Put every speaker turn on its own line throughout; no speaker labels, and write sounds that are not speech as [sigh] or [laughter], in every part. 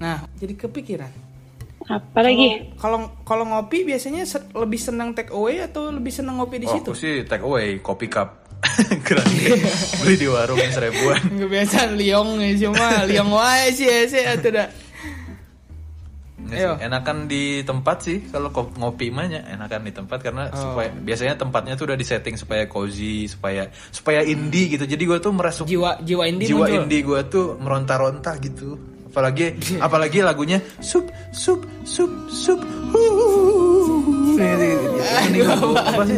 Nah, jadi kepikiran.
Apa lagi?
Kalau kalau ngopi biasanya se- lebih senang take away atau lebih senang ngopi di
Oh,
situ?
aku
[laughs]
sih take away kopi cup [laughs] grande beli di
[laughs]
warung yang seribuan.
Nggak biasa liong ya, cuma liong wae sih ya sih atau dah.
Nggak sih,
Ayo.
Enakan di tempat sih kalau ko- ngopi mah ya, enakan di tempat
Oh.
karena supaya biasanya tempatnya tuh udah disetting supaya cozy, supaya supaya indie gitu. Jadi gue tuh merasa
Jiwa jiwa indie
jiwa
muncul. [laughs]
indie gue tuh meronta-ronta gitu. Apalagi
Iya.
apalagi lagunya sup sup sup sup. huuuuh. Ini lagu apa sih?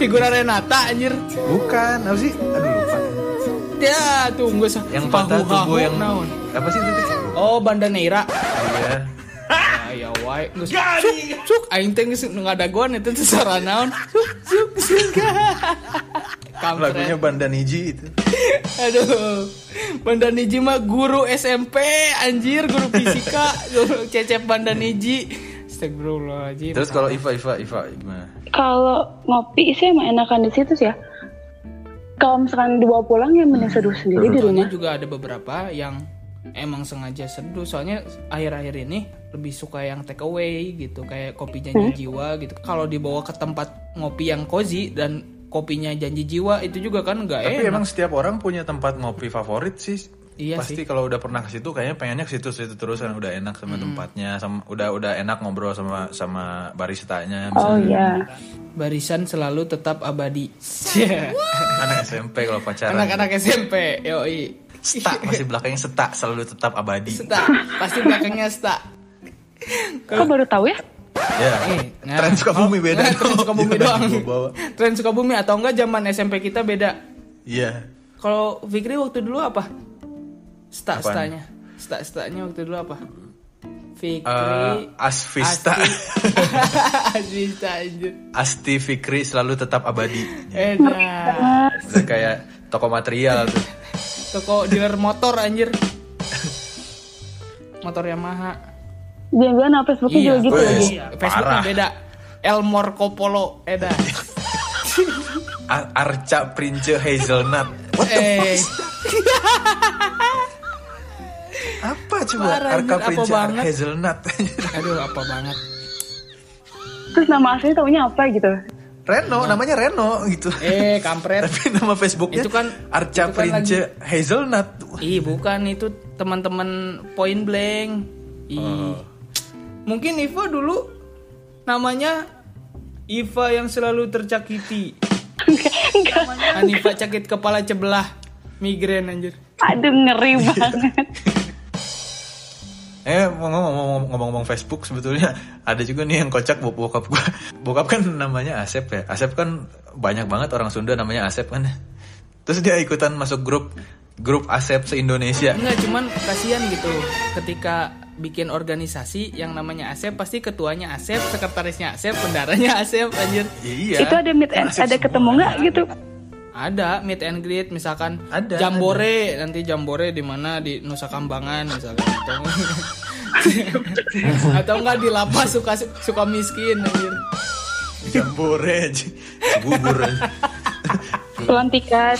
Figura Renata anjir.
Bukan, apa sih? Aduh lupa.
Ya, tunggu sa.
Yang patah
Pahuhahu
tubuh yang
naon.
apa sih itu? Teh?
Oh, Bandaneira.
Iya.
Ya wae geus cuk cuk aing teh geus ngadagoan eta teh saranaon. Cuk cuk cuk. [laughs]
Lagunya
Kampret.
Bandaniji itu.
Aduh. Bandaniji mah guru SMP anjir, guru
[laughs]
fisika, guru cecep Bandaniji. Astagfirullahaladzim.
Terus kalau Iva Iva Iva gimana?
Kalau ngopi sih emang enakan di situ sih ya. Kalau misalkan dibawa pulang ya mending seduh sendiri di
Soalnya
rumah.
juga ada beberapa yang emang sengaja seduh soalnya akhir-akhir ini lebih suka yang take away gitu kayak kopi
Hmm.
janji jiwa gitu kalau dibawa ke tempat ngopi yang cozy dan kopinya janji jiwa itu juga kan nggak
Tapi
enak
emang setiap orang punya tempat ngopi favorit sih.
Iya
Pasti kalau udah pernah ke situ kayaknya pengennya ke situ-situ terus kan udah enak sama
Hmm.
tempatnya, sama udah udah enak ngobrol sama sama baristanya
Oh
misalnya.
iya.
barisan selalu tetap abadi
Iya. Anak SMP kalau pacaran.
[laughs] Oh. anak-anak SMP yoi
Seta, masih belakangnya seta selalu tetap abadi.
sta pasti belakangnya sta
Kok baru tahu ya?
Ya.
Eh, nah.
Tren Sukabumi
Oh,
beda.
nah, [laughs] tren Sukabumi
Jangan
doang
dibawa-bawa.
[laughs] tren Sukabumi atau enggak zaman SMP kita beda
Iya.
Kalau Fikri waktu dulu apa? Sta
Apaan?
stanya. Sta stanya waktu dulu apa? Fikri
Eh, Asvista.
Asti- [laughs] Asvista anjir.
Asti Fikri selalu tetap abadi.
Enak.
Udah kayak toko material tuh.
Toko dealer motor anjir. Motor Yamaha.
Jangan-jangan apa Facebooknya
Iya,
juga gitu
Wih.
lagi.
Parah.
Facebooknya beda. Elmore Kopolo Eda.
A- Arca Prince Hazelnut. What the
eh,
apa coba?
Parah,
Arca
anjir, apa
Prince
banget?
Hazelnut. [laughs]
aduh apa banget.
Terus nama aslinya taunya apa gitu?
Reno, namanya Reno gitu.
Eh, kampret.
Tapi nama Facebooknya
Itu kan- itu kan
Arca Prince Hazelnut.
Ih, bukan itu teman-teman Point Blank. Ih. Mungkin Iva dulu namanya Iva yang selalu tercakiti.
Enggak, enggak.
Anifa cakit kepala cebelah. Migrain anjir.
Aduh ngeri banget.
Eh ngomong-ngomong ngomong-ngomong Facebook sebetulnya ada juga nih yang kocak bok- bokap gua. [laughs] Bokap kan namanya Asep ya. Asep kan banyak banget orang Sunda namanya Asep kan. Terus dia ikutan masuk grup grup Asep se-Indonesia.
Enggak, cuman kasihan gitu ketika bikin organisasi yang namanya Asep pasti ketuanya Asep, sekretarisnya Asep, bendaranya Asep anjir.
Iya.
Itu ada meet and, ada ketemu nggak gitu?
Ada meet and greet misalkan
Ada,
jambore nanti jambore di mana di Nusa Kambangan misalkan atau atau enggak di lapas suka suka miskin anjir.
Jambore aja. Bubur aja.
Pelantikan.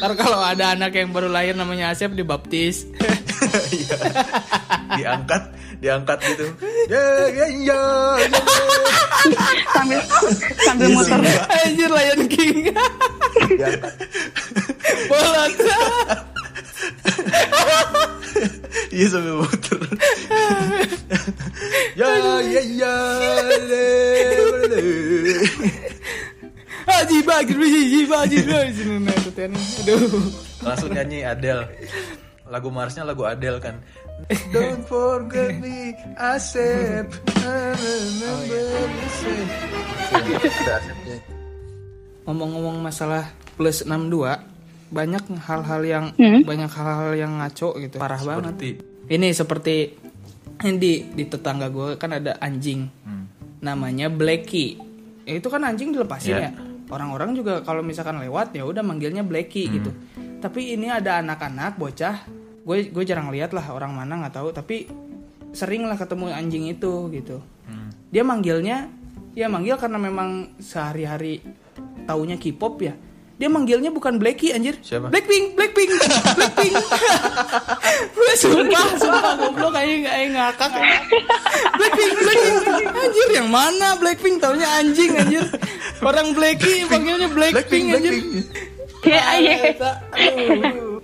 Ntar kalau ada anak yang baru lahir namanya Asep dibaptis.
Iya. diangkat, diangkat gitu. Ya, ya, ya.
Sambil sambil
Iya,
muter.
sih.
Anjir Lion King.
Diangkat.
Bolot.
Iya sambil muter. ya, ya, ya. le, le.
Haji Bagir, Haji Bagir, Haji Bagir. Aduh.
Langsung nyanyi Adele. Lagu Marsnya lagu Adele kan. Don't forget me, Asep. I remember Asep. Ada Asepnya.
Ngomong-ngomong masalah plus 62 banyak hal-hal yang banyak hal-hal yang ngaco gitu. Parah banget.
Berarti
Ini seperti di di tetangga gue kan ada anjing. Namanya Blacky. Ya, itu kan anjing dilepasin ya.
Iya.
Orang-orang juga kalau misalkan lewat ya udah manggilnya Blacky gitu. Tapi ini ada anak-anak bocah. Gue gue jarang lihat lah orang mana nggak tahu tapi sering lah ketemu anjing itu gitu. Dia manggilnya ya manggil karena memang sehari-hari taunya K-pop ya. dia manggilnya bukan Blacky anjir
Siapa?
Blackpink Blackpink Blackpink gue [laughs] sumpah sumpah goblok aja aja ngakak Blackpink Blackpink anjir yang mana Blackpink taunya anjing anjir orang Blacky panggilnya Blackpink, anjir
Ya, ya.
[laughs] Aduh.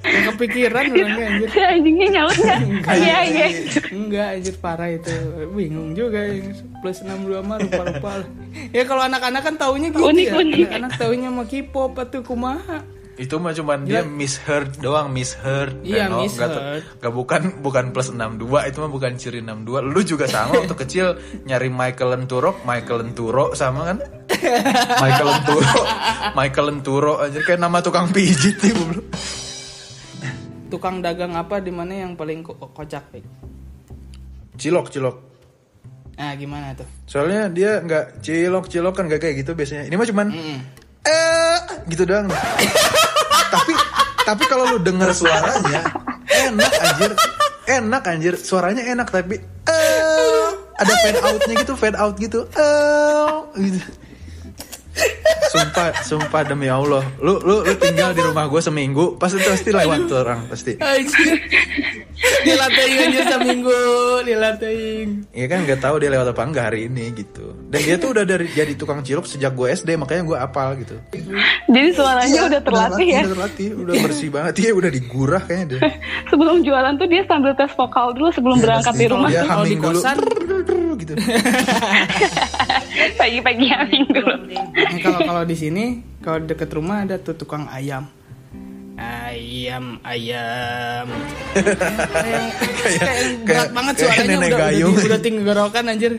Nggak kepikiran orangnya anjir
Si anjingnya nyaut nggak? Iya, iya.
Enggak anjir parah itu Bingung juga ini. Plus 62 mah lupa-lupa lah. Ya kalau anak-anak kan taunya gitu ya
Unik-unik.
Anak-anak taunya sama K-pop atau kumaha
Itu mah cuman dia misheard doang, misheard.
Iya,
Reno. Nggak
misheard.
tuh- nggak bukan bukan plus 62, itu mah bukan ciri 62. Lu juga
[laughs]
sama waktu kecil nyari Michael Lenturo, Michael Lenturo sama kan? Michael Lenturo. Michael Lenturo aja kayak nama tukang pijit nih goblok.
Tukang dagang apa di mana yang paling ko- kocak Pik?
Cilok, cilok.
Nah gimana tuh
Soalnya dia nggak cilok, cilok kan nggak kayak gitu biasanya. Ini mah cuman
Mm-mm.
eh gitu doang [laughs] tapi tapi kalau lu denger suaranya enak anjir enak anjir suaranya enak tapi eh ada fade outnya gitu fade out gitu eh gitu. sumpah sumpah demi allah lu lu, lu tinggal di rumah gue seminggu pasti pasti lewat tuh orang pasti [laughs]
Anjir Dilatein anjir seminggu Dilatein
Iya kan nggak tahu dia lewat apa enggak hari ini gitu dan dia tuh udah dari jadi tukang cilok sejak gue SD makanya gue apal gitu
Jadi suaranya
Iya,
udah terlatih ya.
udah terlatih udah bersih banget iya udah digurah kayaknya dia
Sebelum jualan tuh dia sambil tes vokal dulu sebelum
Iya,
berangkat
pasti.
di rumah.
Dia
tuh kalau
humming
di
dulu.
kosan.
gitu.
Pagi-pagi hamil dulu.
Nah, kalau kalau di sini kalau deket rumah ada tuh tukang ayam
Ah, iya.
ayam ayam kayak [laughs] kayak berat
kayak-
banget
kayak
suaranya
nenek
udah
gayung.
udah, udah tinggi gorokan anjir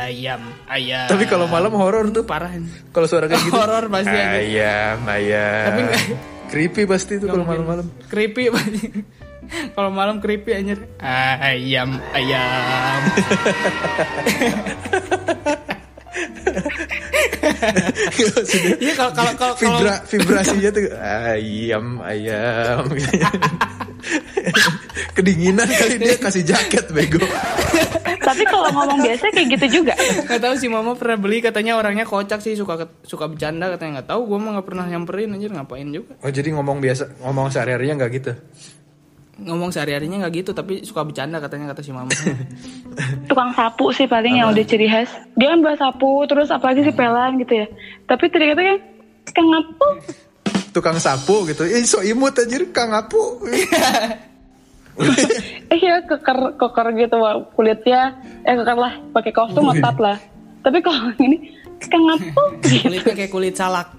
ayam ayam
Tapi kalau malam horor tuh
parah ini.
[laughs] kalau suara kayak gitu.
horor pasti anjir
Ayam, ayam.
Tapi nggak-
creepy pasti tuh kalau malam-malam.
creepy [laughs] pasti kalau malam creepy
[laughs]
anjir ayam ayam
Maksudnya,
iya kalau kalau kalau kalau-
Vibra, vibrasinya tuh ayam, ayam. [laughs] Kedinginan kali dia kasih jaket bego.
Tapi kalau ngomong biasa kayak gitu juga.
nggak tahu sih mama pernah beli katanya orangnya kocak sih suka suka bercanda katanya nggak tahu gue mah nggak pernah nyamperin anjir ngapain juga
Oh jadi ngomong biasa, ngomong sehari-harinya nggak gitu.
ngomong sehari harinya nggak gitu tapi suka bercanda katanya kata si mama
Tukang sapu sih paling yang udah ciri khas. Dia kan bawa sapu, terus apalagi
Hmm.
sih pelan gitu ya. Tapi ternyata kan kenapa?
Tukang sapu gitu. Eh so imut anjir Kang Apu.
Eh ya keker keker gitu wah, kulitnya, eh keker lah, pakai kostum otot lah. Tapi kalau [laughs] ini kenapa?
kulitnya kayak kulit salak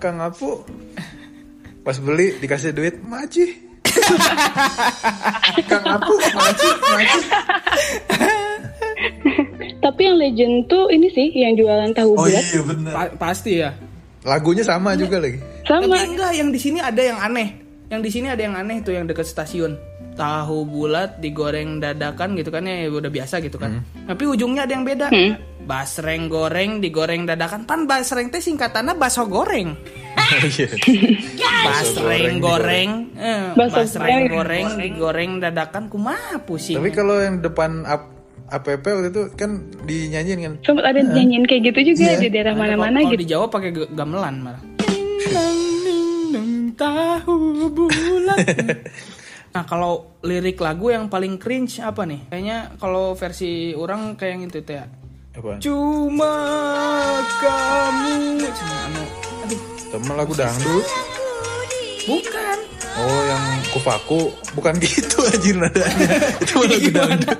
Kang Apu. Pas beli dikasih duit, maci. [laughs] Kang Apu, maci, maci.
Tapi yang legend tuh ini sih yang jualan tahu
Oh
bulat
iya benar.
Pa- pasti ya
Lagunya sama juga
[laughs]
lagi.
sama
tapi enggak yang di sini ada yang aneh yang di sini ada yang aneh tuh yang dekat stasiun tahu bulat digoreng dadakan gitu kan ya udah biasa gitu kan tapi ujungnya ada yang beda basreng goreng digoreng dadakan pan basreng teh singkatannya baso goreng Oh,
Iya.
basreng goreng, eh,
Baso
basreng
goreng.
goreng digoreng dadakan kumaha pusing
Tapi kalau yang depan ap- APP waktu itu kan dinyanyiin kan.
sempat ada nyanyiin kayak gitu juga
Iya.
di daerah mana-mana
Kalau- Kalau
gitu.
di Jawa pakai ge- gamelan malah. tahu bulat. Nah kalau lirik lagu yang paling cringe apa nih? Kayaknya kalau versi orang kayak yang itu teh. ya.
Apa?
Cuma kamu. Cuma anu. Aduh,
Temen lagu dangdut.
bukan.
Oh yang kupaku bukan gitu anjir
[laughs]
nadanya. Itu mah lagu
Gimana?
dangdut.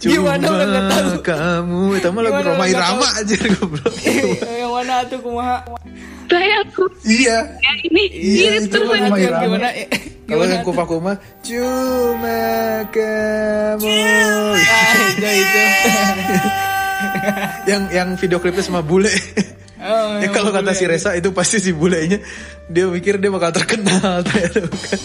Gimana orang nggak tahu?
kamu itu mah lagu
Gimana
Roma
orang nggak
Irama anjir
[laughs]
goblok.
yang mana tuh kumaha?
Sayangku,
Iya.
ya ini
Iya,
mirip
itu
terus
mah
lagi.
Roma Irama.
[laughs] Gimana?
Kalau
Gimana?
yang kupaku mah cuma kamu. Ya,
Ah, itu itu.
yang yang video klipnya sama bule.
Oh,
ya kalau kata si Resa itu pasti si bulenya dia mikir dia bakal terkenal [laughs] ternyata bukan.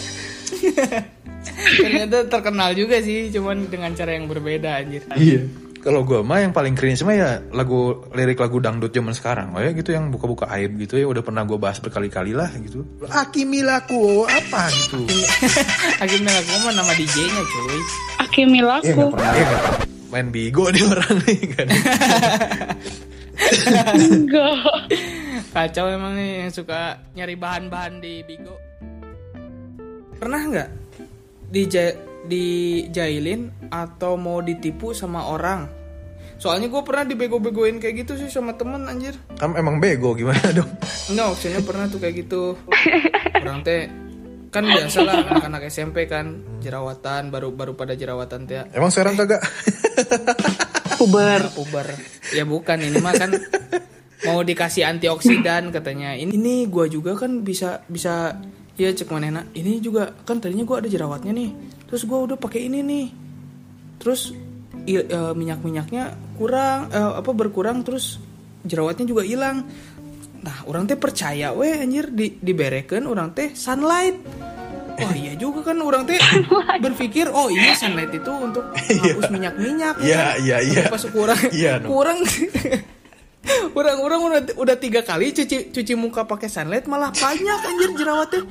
ternyata terkenal juga sih, cuman dengan cara yang berbeda anjir.
Iya. Kalau gue mah yang paling cringe mah ya lagu lirik lagu dangdut zaman sekarang. Oh ya gitu yang buka-buka aib gitu ya udah pernah gue bahas berkali-kali lah gitu. Aki milaku apa gitu.
[laughs] Hakim Nagako mah nama DJ-nya cuy
Oke Milaku.
Iya nggak pernah. Main bigo nih orang nih kan.
Enggak.
Kacau emang nih yang suka nyari bahan-bahan di Bigo. Pernah nggak dija dijailin atau mau ditipu sama orang? Soalnya gue pernah dibego-begoin kayak gitu sih sama temen anjir.
Kamu emang bego gimana dong?
Enggak, maksudnya pernah tuh kayak gitu. Orang teh kan biasa lah anak-anak SMP kan jerawatan baru baru pada jerawatan teh
Emang sekarang [laughs] kagak?
puber
puber ya bukan ini mah kan mau dikasih antioksidan katanya ini ini gua juga kan bisa bisa ya cek manena ini juga kan tadinya gua ada jerawatnya nih terus gua udah pakai ini nih terus minyak minyaknya kurang eh, apa berkurang terus jerawatnya juga hilang nah orang teh percaya weh anjir di dibereken orang teh sunlight Wah iya juga kan orang teh berpikir oh iya sunlight itu untuk menghapus minyak minyak
Iya, iya, iya.
pas kurang
Iya, no.
kurang [laughs] kurang kurang udah udah tiga kali cuci cuci muka pakai sunlight malah banyak anjir jerawatnya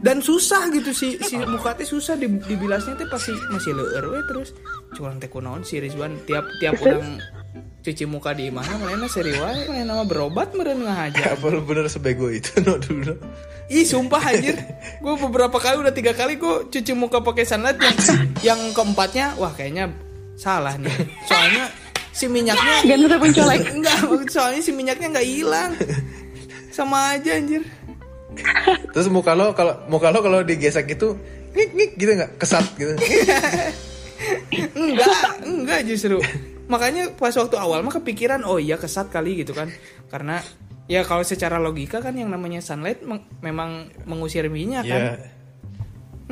dan susah gitu si si muka teh susah di- dibilasnya teh pasti masih leueur we terus curang teh kunaon si Rizwan tiap tiap orang cuci muka di imahna mana seri wae mana nama berobat meureun ngahaja
Apa lu ya, bener sebego itu [laughs] no dulu?
Ih sumpah anjir Gue beberapa kali udah tiga kali gue cuci muka pakai sunlight yang, yang keempatnya Wah kayaknya salah nih Soalnya si minyaknya
Gak nutup colek
Enggak maksud- soalnya si minyaknya nggak hilang Sama aja anjir
Terus muka lo kalau muka lo kalau digesek itu ngik ngik gitu nggak kesat gitu.
Iya, Enggak, enggak justru Makanya pas waktu awal mah kepikiran Oh iya kesat kali gitu kan Karena ya kalau secara logika kan yang namanya sunlight meng- memang mengusir minyak kan
Iya.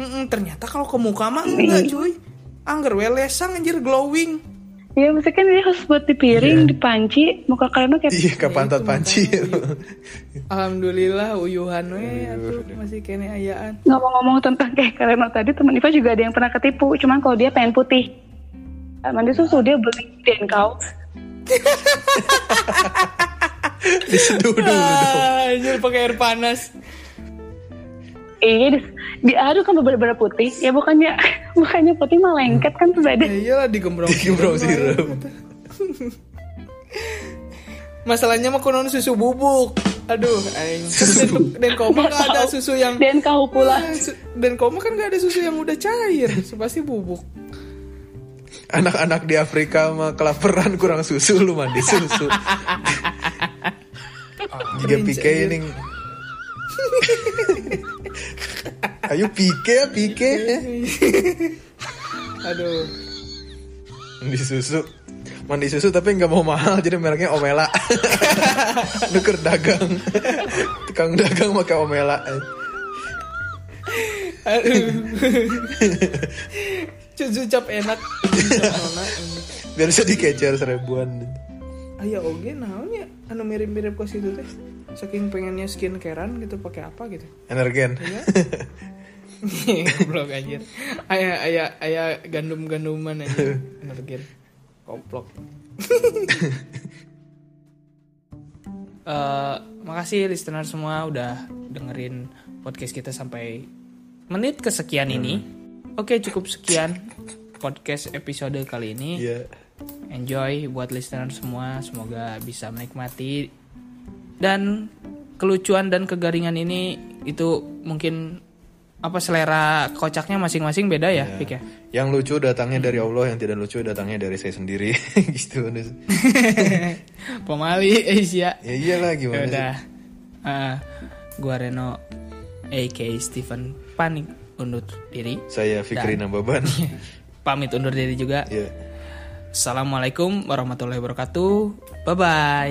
Mm-mm, ternyata kalau ke muka mah enggak cuy. Angger we lesang anjir glowing.
Ya mesti kan ini harus buat di piring, di panci Muka kalian mah kayak
[laughs] Iya ke pantat panci. [laughs]
Alhamdulillah uyuhan we atuh masih kene ayaan.
Ngomong-ngomong tentang kayak kalian tadi Temen Iva juga ada yang pernah ketipu Cuman kalau dia pengen putih Eh, Mandi susu dia beli dan kau
Diseduh dulu.
Ah, anjir pakai air panas.
Iya, dis- diaduk kan beberapa putih. Ya bukannya [laughs] bukannya putih malah lengket kan tuh
Ya
ada.
iyalah digembrong.
Digembrong sirup.
Masalahnya mah kunon susu bubuk. Aduh, aing. Dan koma gak ada susu yang Eh,
Dan kau pula.
Su- dan koma kan gak ada susu yang udah cair, pasti bubuk.
Anak-anak di Afrika mah kelaparan kurang susu lu mandi
[laughs]
susu. Jika
Cringe,
pike
anjir.
ini. [laughs] Ayo pike pike
[laughs] Aduh.
mandi susu. Mandi susu tapi nggak mau mahal jadi mereknya Omela. [laughs] Nuker dagang. Tukang dagang pakai Omela.
Aduh. Cucu cap enak. Cucu cap enak.
Biar bisa dikecer seribuan.
Aya oge naon Ah, ya anu mirip-mirip ke situ teh. Saking pengennya skincarean gitu pakai apa gitu.
Energen.
[laughs] Goblok anjir. Aya aya aya gandum-ganduman anjir. Energir. Komplok. [laughs] Eh, makasih listener semua udah dengerin podcast kita sampai menit kesekian ini. Oke, cukup sekian podcast episode kali ini
Iya.
enjoy buat listener semua semoga bisa menikmati dan kelucuan dan kegaringan ini itu mungkin apa selera kocaknya masing-masing beda ya
Iya.
Fik ya [laughs]
Yang lucu datangnya dari Allah, yang tidak lucu datangnya dari saya sendiri. [laughs] gitu. Nus.
pemali Asia
Ya iyalah gimana sih?
udah Eh, gua Reno aka Steven panik undur diri
Saya Fikri Nambaban.
pamit undur diri juga
Iya.
Assalamualaikum warahmatullahi wabarakatuh bye bye